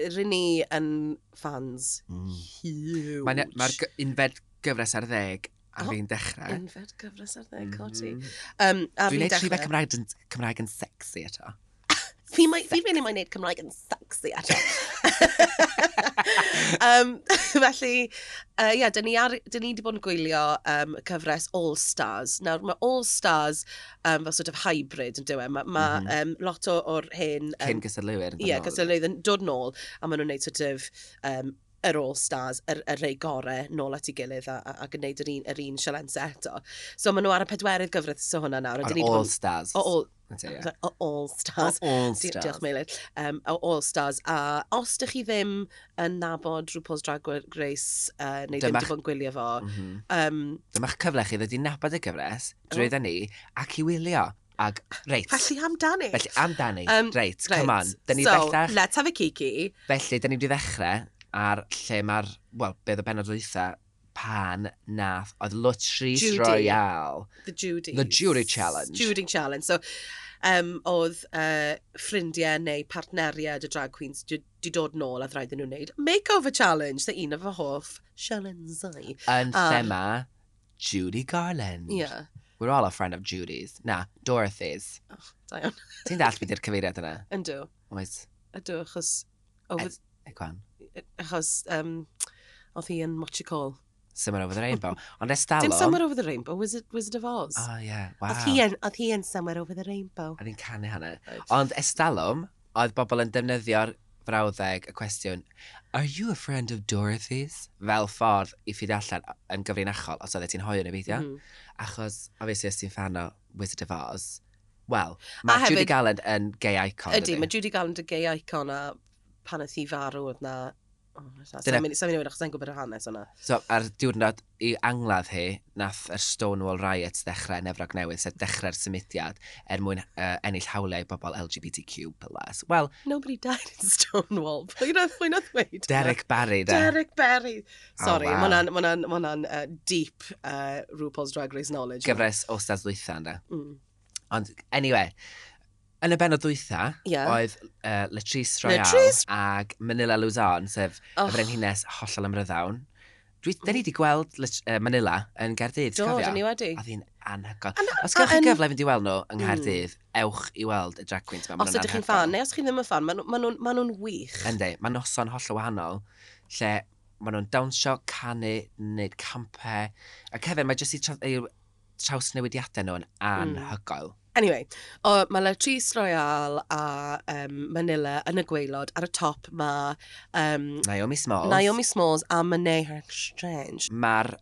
[SPEAKER 2] rydyn ni yn fans
[SPEAKER 1] Mm.
[SPEAKER 2] huge.
[SPEAKER 1] Mae'r ma unfed gyfres ar ddeg A
[SPEAKER 2] O,
[SPEAKER 1] fi'n dechrau.
[SPEAKER 2] Unfed gyfres ar ddeg codi.
[SPEAKER 1] Mm.
[SPEAKER 2] Um, a
[SPEAKER 1] Dwi'n
[SPEAKER 2] fi'n
[SPEAKER 1] neud rhywbeth
[SPEAKER 2] dechrau.
[SPEAKER 1] Cymraeg, yn- Cymraeg yn sexy eto.
[SPEAKER 2] Fi mai- fi really mae'n neud Cymraeg yn sexy *laughs* ato. um, *laughs* felly, uh, yeah, dyn ni, ar, dyn ni wedi bod yn gwylio um, cyfres All Stars. Nawr, mae All Stars um, fel sort of hybrid yn dywe. Mae ma,
[SPEAKER 1] Mhm.
[SPEAKER 2] um, lot o, o'r hyn...
[SPEAKER 1] Cyn gysylltwyr. yn
[SPEAKER 2] Ie,
[SPEAKER 1] ganol.
[SPEAKER 2] gysylltwyr yn dod nôl, a maen nhw'n gwneud sort of, um, yr All Stars, yr, yr rei gorau, nôl at ei gilydd a, a, a gwneud yr un, yr un sialens eto. So maen nhw ar y pedwerydd gyfres o hwnna nawr. a dyn
[SPEAKER 1] O'r
[SPEAKER 2] ni 'di
[SPEAKER 1] All
[SPEAKER 2] bod yn-
[SPEAKER 1] Stars.
[SPEAKER 2] O All,
[SPEAKER 1] That's it, yeah.
[SPEAKER 2] yeah. o All Stars.
[SPEAKER 1] O All
[SPEAKER 2] Di-
[SPEAKER 1] Stars.
[SPEAKER 2] Diolch Meilir. Um, o All Stars. A os ydych chi ddim yn nabod RuPaul's Drag Race, uh, neu ddim
[SPEAKER 1] Dyma'ch-
[SPEAKER 2] wedi bod yn gwylio fo,
[SPEAKER 1] Mhm.
[SPEAKER 2] um,
[SPEAKER 1] Dyma'ch cyfle chi ddod i nabod y gyfres, drwy dda ni, ac i wylio. Ac, reit.
[SPEAKER 2] felly amdani.
[SPEAKER 1] Felly, amdani.
[SPEAKER 2] Um,
[SPEAKER 1] reit,
[SPEAKER 2] Reit,
[SPEAKER 1] come on. Da ni
[SPEAKER 2] so,
[SPEAKER 1] bellach.
[SPEAKER 2] let's have a kiki.
[SPEAKER 1] Felly, da ni wedi ddechrau ar lle mae'r, wel, beth o benod dwytha, pan nath oedd Lutris
[SPEAKER 2] Judy.
[SPEAKER 1] Royale.
[SPEAKER 2] The Judy.
[SPEAKER 1] The Judy Challenge.
[SPEAKER 2] Judy Challenge. So, um, oedd uh, ffrindiau neu partneriad y drag queens wedi dod nôl a ddraedd nhw'n wneud makeover challenge, the un o fy hoff sialensau.
[SPEAKER 1] Yn
[SPEAKER 2] A-
[SPEAKER 1] thema, Judy Garland.
[SPEAKER 2] Ah. Ie, yeah.
[SPEAKER 1] We're all a friend of Judy's. Na, Dorothy's.
[SPEAKER 2] da iawn.
[SPEAKER 1] Ti'n dall beth i'r cyfeiriad yna?
[SPEAKER 2] Yndw.
[SPEAKER 1] Oes,
[SPEAKER 2] Ydw, achos... oh, Oedd
[SPEAKER 1] egwan.
[SPEAKER 2] achos um, oedd hi yn Mochi Cole.
[SPEAKER 1] Summer over the rainbow. Ond estalwm...
[SPEAKER 2] Dim Somewhere Over the Rainbow, Wizard, Wizard of Oz.
[SPEAKER 1] Oh, yeah, wow.
[SPEAKER 2] Oedd hi yn- Oedd hi yn Somewhere Over the Rainbow.
[SPEAKER 1] A fi'n canu hana.
[SPEAKER 2] Right.
[SPEAKER 1] Ond estalwm, oedd bobl yn defnyddio'r frawddeg y cwestiwn Are you a friend of Dorothy's? Fel ffordd i ffyd allan yn gyfrinachol os oeddet ti'n hoiw neu beidio.
[SPEAKER 2] Mm.
[SPEAKER 1] Achos, obviously, os ti'n fan o Wizard of Oz, wel,
[SPEAKER 2] A
[SPEAKER 1] mae
[SPEAKER 2] hefyd-
[SPEAKER 1] Judy Garland yn gay icon.
[SPEAKER 2] Ydy, mae Judy Garland y gay icon a pan oedd hi farw oedd na... Oh,
[SPEAKER 1] Dyna-
[SPEAKER 2] Sa'n mynd i wneud achos sa'n gwybod yr hanes o'na.
[SPEAKER 1] So, ar diwrnod i angladd hi, nath yr Stonewall Riots ddechrau yn Efrog Newydd, sef dechrau'r symudiad er mwyn uh, ennill hawliau bobl LGBTQ+. Wel,
[SPEAKER 2] Nobody died in Stonewall. *laughs* Pwy'n oedd pwy'n oedd dweud?
[SPEAKER 1] Derek Barry, de.
[SPEAKER 2] Derek Berry.
[SPEAKER 1] Oh,
[SPEAKER 2] Sorry,
[SPEAKER 1] wow.
[SPEAKER 2] oh, wow. mae'n uh, deep uh, RuPaul's Drag Race knowledge.
[SPEAKER 1] Gyfres o stad ddwytha, de.
[SPEAKER 2] Mm.
[SPEAKER 1] Ond, anyway, yn y benod ddwytha,
[SPEAKER 2] Ie.
[SPEAKER 1] oedd uh, Latrice Royale
[SPEAKER 2] Latrice-
[SPEAKER 1] ag Manila Luzon, sef
[SPEAKER 2] Och.
[SPEAKER 1] y frenhines hollol ymryddawn. Dwi, da ni wedi gweld Lat- yy, Manila yn Gaerdydd,
[SPEAKER 2] Do,
[SPEAKER 1] cofio?
[SPEAKER 2] dyn ni wedi.
[SPEAKER 1] Oedd hi'n anhygoel.
[SPEAKER 2] An-
[SPEAKER 1] Os gawch chi
[SPEAKER 2] a- yn-
[SPEAKER 1] gyfle i fynd i weld nhw yng
[SPEAKER 2] Mm.
[SPEAKER 1] Nghaerdydd, ewch i weld y drag queens yma. ma'
[SPEAKER 2] Os
[SPEAKER 1] nhw'n
[SPEAKER 2] ydych chi'n
[SPEAKER 1] anhygoel.
[SPEAKER 2] fan, neu os chi ddim yn fan, maen nhw'n ma nhw'n wych.
[SPEAKER 1] Yndi, mae noson holl o wahanol, lle maen nhw'n dawnsio, canu, wneud campau. Ac hefyd, mae jyst i tra- eu traws newidiadau nhw yn
[SPEAKER 2] Hmm.
[SPEAKER 1] anhygoel.
[SPEAKER 2] Anyway, o, mae Latrice Royale a um, Manila yn y gweilod. Ar y top mae um,
[SPEAKER 1] Naomi Smalls.
[SPEAKER 2] Naomi Smalls a Monet Strange.
[SPEAKER 1] Mae'r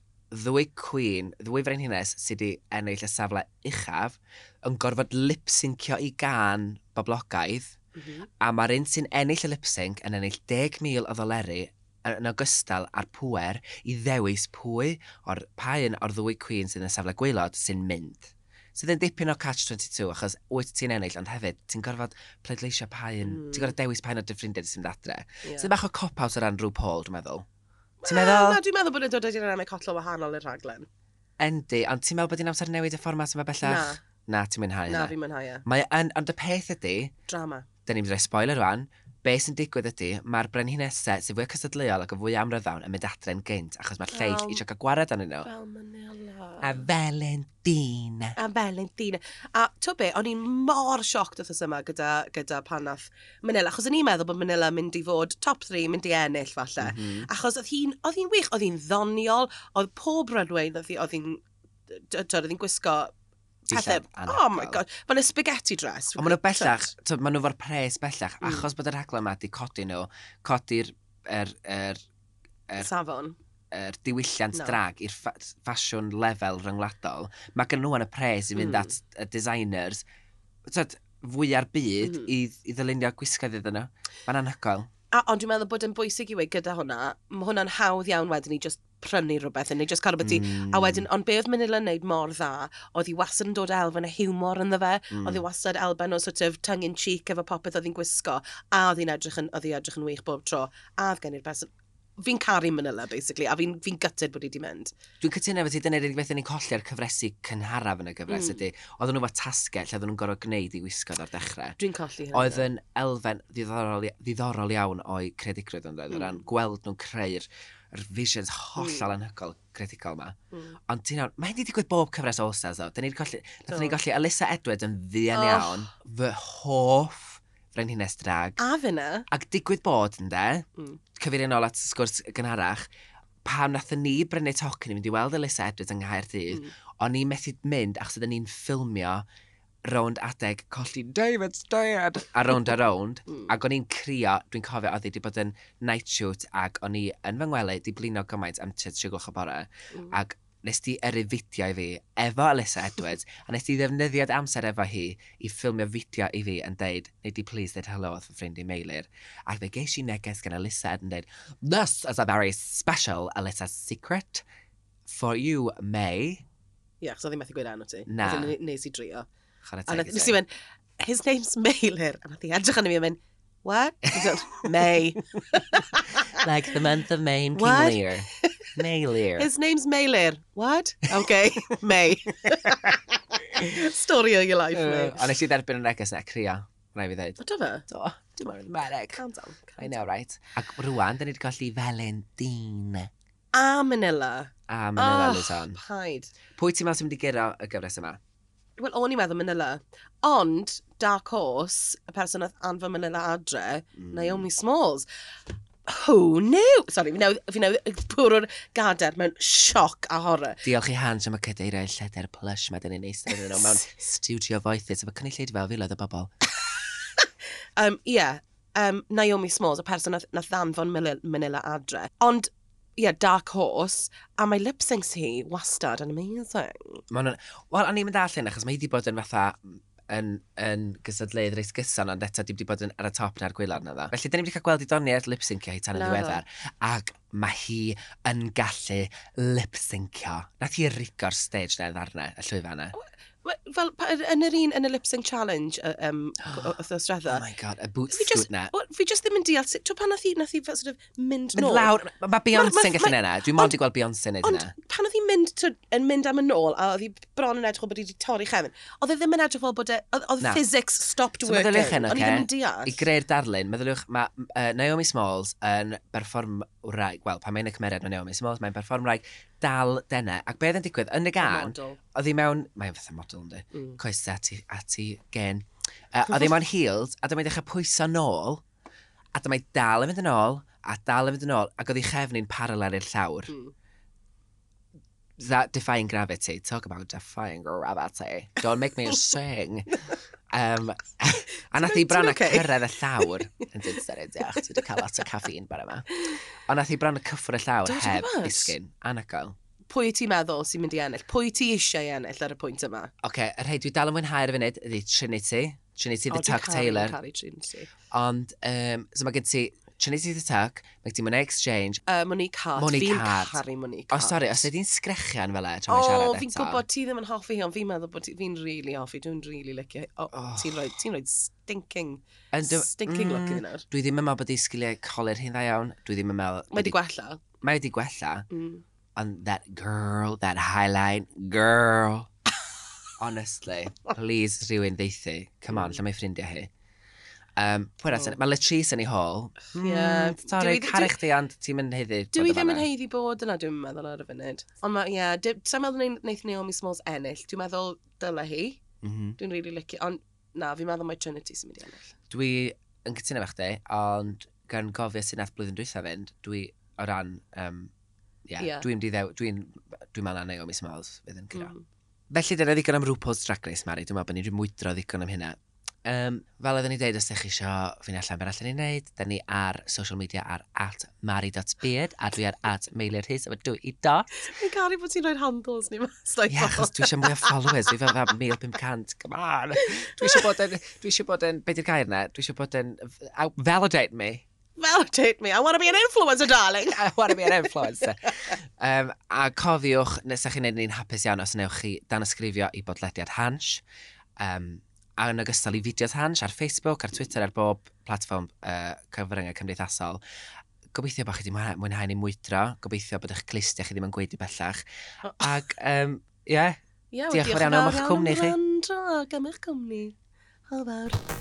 [SPEAKER 1] ddwy cwyn, ddwy frenhines sydd wedi ennill y safle uchaf yn gorfod lip-syncio i gan boblogaidd a mae'r un sy'n ennill y lip-sync yn ennill 10,000 o ddoleri yn yn ogystal â'r pwer i ddewis pwy o'r pa un o'r ddwy cwyn sydd yn y safle gwaelod sy'n mynd. Sydd yn dipyn o Catch-22 achos wyt ti'n ennill ond hefyd ti'n gorfod pleidleisio pa un,
[SPEAKER 2] Mm.
[SPEAKER 1] ti'n gorfod dewis pa un o'r dy ffrindiau sy'n adre.
[SPEAKER 2] Yeah.
[SPEAKER 1] Sydd bach o cop-out o ran rhyw Paul dwi'n meddwl. Ti'n
[SPEAKER 2] Wel,
[SPEAKER 1] meddwl?
[SPEAKER 2] na, dwi'n meddwl bod yn dod â dynamic hollol wahanol i'r rhaglen.
[SPEAKER 1] Endi, ond ti'n meddwl bod hi'n amser newid y fformat yma
[SPEAKER 2] Na,
[SPEAKER 1] bellach? Na. ti'n mwynhau
[SPEAKER 2] na,
[SPEAKER 1] hynna.
[SPEAKER 2] fi'n mwynhau e.
[SPEAKER 1] Mae yn, ond y peth ydy,
[SPEAKER 2] Drama.
[SPEAKER 1] da ni'n rhoi spoiler rwan, be sy'n digwydd ydy, mae'r brenhinesau sy'n fwy cystadleuol ac yn fwy amryddawn yn mynd adre'n gynt, achos mae'r lleill
[SPEAKER 2] Wel.
[SPEAKER 1] eisiau cael gwared arnyn nhw.
[SPEAKER 2] Fel Manila.
[SPEAKER 1] A Valentina.
[SPEAKER 2] A Valentina. A to be, o'n i'n mor sioct wrthos yma gyda, gyda pan nath Manila. Achos o'n i'n meddwl bod Manila mynd i fod top 3, mynd i ennill falle.
[SPEAKER 1] Mhm.
[SPEAKER 2] Achos oedd hi'n, oedd hi'n wych, oedd hi'n ddoniol, oedd pob rydwein, oedd hi- oedd hi'n, d- d- oedd hi'n gwisgo pethau.
[SPEAKER 1] Dillad
[SPEAKER 2] Oh my
[SPEAKER 1] anhygoel.
[SPEAKER 2] god, fel y spaghetti dress.
[SPEAKER 1] Ond maen nhw bellach, t'od, maen nhw fo'r pres bellach,
[SPEAKER 2] Mm.
[SPEAKER 1] achos bod yr rhaglen yma di codi nhw, codi'r er, er, er,
[SPEAKER 2] Safon.
[SPEAKER 1] er diwylliant
[SPEAKER 2] No.
[SPEAKER 1] drag i'r ffa ffasiwn lefel ryngwladol, mae gen nhw yn y pres i fynd
[SPEAKER 2] Mm.
[SPEAKER 1] at y designers, t'od, fwy ar byd
[SPEAKER 2] Mm.
[SPEAKER 1] i, i ddylunio gwisgoedd iddyn nhw. Mae'n anhygoel.
[SPEAKER 2] A, ond dwi'n meddwl bod yn bwysig i wei gyda hwnna, mae hwnna'n hawdd iawn wedyn i just prynu rhywbeth, neu just cael rhywbeth i...
[SPEAKER 1] Mm.
[SPEAKER 2] A wedyn, ond be oedd Manila yn neud mor dda, oedd hi wastad yn dod â elfen y hiwmor yn fe,
[SPEAKER 1] Mm.
[SPEAKER 2] oedd hi wastad elfen o sort of tongue in cheek efo popeth oedd hi'n gwisgo, a oedd hi'n edrych yn, oedd hi edrych yn wych bob tro, a oedd gen i'r person... Fi'n caru Manila, basically, a fi'n fi gutted bod hi wedi mynd.
[SPEAKER 1] Dwi'n cytuno efo ti, dyna'r unig beth yn ei colli ar cyfresu cynharaf yn y gyfres
[SPEAKER 2] Mm.
[SPEAKER 1] ydy. Oedden nhw fo tasgau lle oedden nhw'n gorfod gwneud i wisgoedd ar dechrau.
[SPEAKER 2] Dwi'n colli hynny.
[SPEAKER 1] Oedd e- yn elfen ddiddorol, ia- ddiddorol iawn o'i credigrwydd yn dweud, o
[SPEAKER 2] Mm.
[SPEAKER 1] ran gweld nhw'n creu'r yr visions hollol
[SPEAKER 2] Hmm.
[SPEAKER 1] anhygol credigol ma.
[SPEAKER 2] Mm.
[SPEAKER 1] Ond ti'n iawn, mae hynny digwydd bob cyfres o All-Stars ddo. Da ni'n golli, da ni
[SPEAKER 2] Do.
[SPEAKER 1] golli Alyssa Edwards yn ddian
[SPEAKER 2] Oh.
[SPEAKER 1] iawn. Fy hoff frenhines drag.
[SPEAKER 2] A fe na.
[SPEAKER 1] Ac digwydd bod yn de,
[SPEAKER 2] Mm.
[SPEAKER 1] cyfeirio nôl at y sgwrs gynharach, pam nath ni brynu tocyn i fynd i weld Alyssa Edwards yng Nghaerdydd,
[SPEAKER 2] Mm.
[SPEAKER 1] mm. o'n i methu mynd achos oedden ni'n ffilmio rownd adeg colli David's dad a rownd a rownd
[SPEAKER 2] Mm.
[SPEAKER 1] ac o'n i'n crio, dwi'n cofio oedd i wedi bod yn night shoot ac o'n i yn fy ngwely di blino gymaint am tyd siwglwch y bore
[SPEAKER 2] Mm.
[SPEAKER 1] ac nes di yrru fideo i fi efo Alyssa Edwards a nes di ddefnyddiad amser efo hi i ffilmio fideo i fi yn deud neu di please ddeud hello oedd fy ffrind i Meilir ac fe geis i neges gan Alyssa yn deud This is a very special Alyssa's secret for you May
[SPEAKER 2] Ie, chos oedd hi'n methu gweud anw ti.
[SPEAKER 1] Na.
[SPEAKER 2] Wedyn ne- Nes i drio.
[SPEAKER 1] Chwarae
[SPEAKER 2] A
[SPEAKER 1] teg
[SPEAKER 2] nath-
[SPEAKER 1] i
[SPEAKER 2] nes
[SPEAKER 1] ti.
[SPEAKER 2] i mynd, his name's Mailer. A nath i edrych arno fi a mynd,
[SPEAKER 1] *laughs*
[SPEAKER 2] what? I said, May.
[SPEAKER 1] Like the month of May in King
[SPEAKER 2] What?
[SPEAKER 1] Lear Meilir
[SPEAKER 2] His name's Mailer. What? Okay, *laughs* May. Story of your life,
[SPEAKER 1] Uh,
[SPEAKER 2] May.
[SPEAKER 1] Ond nes i dderbyn y neges na crio Rhaid fi ddeud
[SPEAKER 2] O, do fe?
[SPEAKER 1] Do, dim ond yn Mereg
[SPEAKER 2] Calm down. calm
[SPEAKER 1] I know, right Ac rwan, da ni wedi golli Valentine
[SPEAKER 2] down. A Manila.
[SPEAKER 1] A Manila
[SPEAKER 2] Oh,
[SPEAKER 1] Luzon
[SPEAKER 2] Paid.
[SPEAKER 1] Pwy ti'n meddwl sy'n mynd i gyrra y gyfres yma?
[SPEAKER 2] Wel, o'n i'n meddwl Manila. Ond, Dark Horse, y person oedd anfon Manila adre,
[SPEAKER 1] Mm.
[SPEAKER 2] Naomi Smalls. Who knew? Sorry, fi newydd fi newydd bwrw'r gader mewn sioc a horror.
[SPEAKER 1] Diolch i Hans am y cadeiriau lleder plush mae dyn ni'n eistedd iddyn nhw
[SPEAKER 2] *laughs*
[SPEAKER 1] mewn studio voices efo cynulleid fel filoedd o bobl.
[SPEAKER 2] Um, Ie, yeah, um, Naomi Smalls, y person nath, nath anfon Mil- Manila adre. Ond, ie, yeah, Dark Horse, a mae lip syncs hi wastad yn amazing.
[SPEAKER 1] Ma' hwnna'n- Wel, o'n i'n mynd all hyn, achos mae hi wedi bod yn fatha yn, yn gysadleudd reis gyson, ond eto di wedi bod yn ar y top na'r gwylod na dda. Felly, da ni wedi cael gweld i doniad lip-syncio hi tan y
[SPEAKER 2] Na
[SPEAKER 1] ddiweddar, ac mae hi yn gallu lip-syncio. Nath hi rigo'r stage na ddarna, y llwyfa na.
[SPEAKER 2] Wel, Fel, pa- yn yr un, yn y lip sync challenge, yy,
[SPEAKER 1] *gasps*
[SPEAKER 2] yym, o- o- wrthos
[SPEAKER 1] Oh
[SPEAKER 2] diwetha.
[SPEAKER 1] my god, y boots
[SPEAKER 2] Fi just-
[SPEAKER 1] scoot na.
[SPEAKER 2] Wel, Fi just ddim yn deall sut, tw pan nath hi, nath hi fel sort of mynd
[SPEAKER 1] Mynd
[SPEAKER 2] nôl.
[SPEAKER 1] lawr, ma- mae Beyoncé
[SPEAKER 2] ma-
[SPEAKER 1] yn gallu
[SPEAKER 2] ma-
[SPEAKER 1] neud na. Dwi'n mond i gweld Beyoncé yn neud
[SPEAKER 2] Ond
[SPEAKER 1] hynna.
[SPEAKER 2] pan oedd hi'n mynd, to, yn mynd am y nôl, a oedd hi bron yn edrych fel bod hi wedi torri chefn, oedd e ddim yn edrych fel bod e, oedd- oedd
[SPEAKER 1] Na.
[SPEAKER 2] physics stopped
[SPEAKER 1] So
[SPEAKER 2] working.
[SPEAKER 1] meddyliwch hyn,
[SPEAKER 2] O'n i
[SPEAKER 1] ocê?
[SPEAKER 2] ddim yn deall.
[SPEAKER 1] I greu'r darlun, meddyliwch, mae uh, Naomi Smalls yn berfform wraig, wel, pan mae'n y cymeriad mae Naomi Smalls, mae'n berfform wraig dal dena. Ac beth yn digwydd, yn y gan,
[SPEAKER 2] Model.
[SPEAKER 1] oedd hi mewn, mae'n fatha model ynddi, mm.
[SPEAKER 2] Mm.
[SPEAKER 1] coesau ati, ati gen. Uh, oedd hi mewn heels, a dyma i ddechrau pwyso nôl, a dyma i dal yn mynd yn ôl, a dal yn mynd yn ôl, ac oedd hi chefni'n paralel i'r llawr.
[SPEAKER 2] Mm.
[SPEAKER 1] That defying gravity, talk about defying gravity, don't make
[SPEAKER 2] *laughs*
[SPEAKER 1] me sing. Um, a nath i
[SPEAKER 2] Ti'n-
[SPEAKER 1] bron
[SPEAKER 2] ti'n
[SPEAKER 1] a
[SPEAKER 2] okay?
[SPEAKER 1] cyrraedd y llawr yn dyn sy'n ei ddeall, dwi wedi cael lot o caffeine bar yma. Ond nath i bron a cyffwr y llawr
[SPEAKER 2] Do, ti'n
[SPEAKER 1] heb
[SPEAKER 2] gwbod?
[SPEAKER 1] ddisgyn, anagol.
[SPEAKER 2] pwy ti'n meddwl sy'n mynd i ennill? Pwy ti eisiau ennill ar y pwynt yma?
[SPEAKER 1] Oce, okay, yr rhai dwi dal yn mwynhau ar y funud ydi Trinity, Trinity the
[SPEAKER 2] O, dwi'n
[SPEAKER 1] Tuck
[SPEAKER 2] caru-
[SPEAKER 1] Taylor.
[SPEAKER 2] caru Trinity.
[SPEAKER 1] Ond, um, so mae gen ti Trinity the Tuck, mae gen ti Mona Exchange.
[SPEAKER 2] Yy, Monique Hart.
[SPEAKER 1] Monique
[SPEAKER 2] fi'n
[SPEAKER 1] Hart.
[SPEAKER 2] caru Monique
[SPEAKER 1] O, oh,
[SPEAKER 2] Hart.
[SPEAKER 1] sori, os ydy'n sgrechian fel e, tra mae'n
[SPEAKER 2] O,
[SPEAKER 1] siarad eto.
[SPEAKER 2] fi'n gwybod ti ddim yn hoffi hi, ond fi'n meddwl bod ti- fi'n rili hoffi, dwi'n rili licio. hi. O,
[SPEAKER 1] Oh.
[SPEAKER 2] ti'n rhoi, ti'n rhoi stinking,
[SPEAKER 1] Yn dy-
[SPEAKER 2] stinking look
[SPEAKER 1] Mm,
[SPEAKER 2] iddyn nhw.
[SPEAKER 1] Dwi ddim yn meddwl bod ei sgiliau colir hi'n dda iawn. Dwi ddim yn meddwl...
[SPEAKER 2] Mae di gwella.
[SPEAKER 1] Mae wedi gwella.
[SPEAKER 2] Mm.
[SPEAKER 1] on that girl, that highline girl. Honestly, please rhywun ddeithi. Come
[SPEAKER 2] Hmm.
[SPEAKER 1] on, lle mae ffrindiau hi. Um, Pwy'n
[SPEAKER 2] Oh.
[SPEAKER 1] atyn, mae Latrice yn ei hôl.
[SPEAKER 2] Yeah,
[SPEAKER 1] Mm, Sorry,
[SPEAKER 2] Hmm. dwi- dwi-
[SPEAKER 1] carech di ond ti'n mynd heddi.
[SPEAKER 2] Dwi ddim
[SPEAKER 1] e.
[SPEAKER 2] yn heiddi bod yna, dwi'n meddwl ar y funud. Ond mae, ie, yeah, sa'n meddwl neith- wneith Naomi Smalls ennill. Dwi'n meddwl dyle hi.
[SPEAKER 1] Mm
[SPEAKER 2] Dwi'n rili licio. Ond na, fi'n meddwl mae Trinity sy'n mynd i ennill.
[SPEAKER 1] Dwi yn cytuno efo chdi, ond gan gofio sy'n nath blwyddyn dwytha fynd, dwi o ran... Um, yeah,
[SPEAKER 2] Ie.
[SPEAKER 1] yeah. Dwi'n diddew, dwi'n dwi'n meddwl na Naomi Smalls fydd yn cyro.
[SPEAKER 2] Mm.
[SPEAKER 1] Felly dyna ddigon am RuPaul's Drag Race, Mari. Dwi'n meddwl bod ni'n mwydro ddigon am hynna. Um, fel oedden ni dweud, os ydych chi isio fynd allan ben allan i wneud, da ni ar social media ar at mari.beard, a dwi ar at mailir his, a dwi i dot.
[SPEAKER 2] Fi'n caru bod ti'n rhoi handles *laughs* ni mas. Ie,
[SPEAKER 1] Ie, achos dwi eisiau mwy o followers, dwi fel fel 1500, come on. Dwi eisiau bod yn, dwi eisiau bod yn, beth yw'r gair na? Dwi eisiau bod yn, out- validate me.
[SPEAKER 2] Validate me. I want to be an influencer, darling.
[SPEAKER 1] I want to be an influencer. um, a cofiwch, nes ydych chi'n neud ni'n hapus iawn os newch chi dan ysgrifio i bodlediad Hansh. Um, a yn ogystal i fideos Hansh ar Facebook, ar Twitter, ar bob platform uh, cyfryngau cymdeithasol. Gobeithio bod chi wedi mwynha- mwynhau ni mwydro. Gobeithio bod eich clustiau chi ddim yn gweud i bellach. Ac, um, ie, yeah,
[SPEAKER 2] Ie, wel,
[SPEAKER 1] Diolch yn fawr iawn am eich cwmni chi.
[SPEAKER 2] am wrando ac am eich cwmni. Hwyl fawr.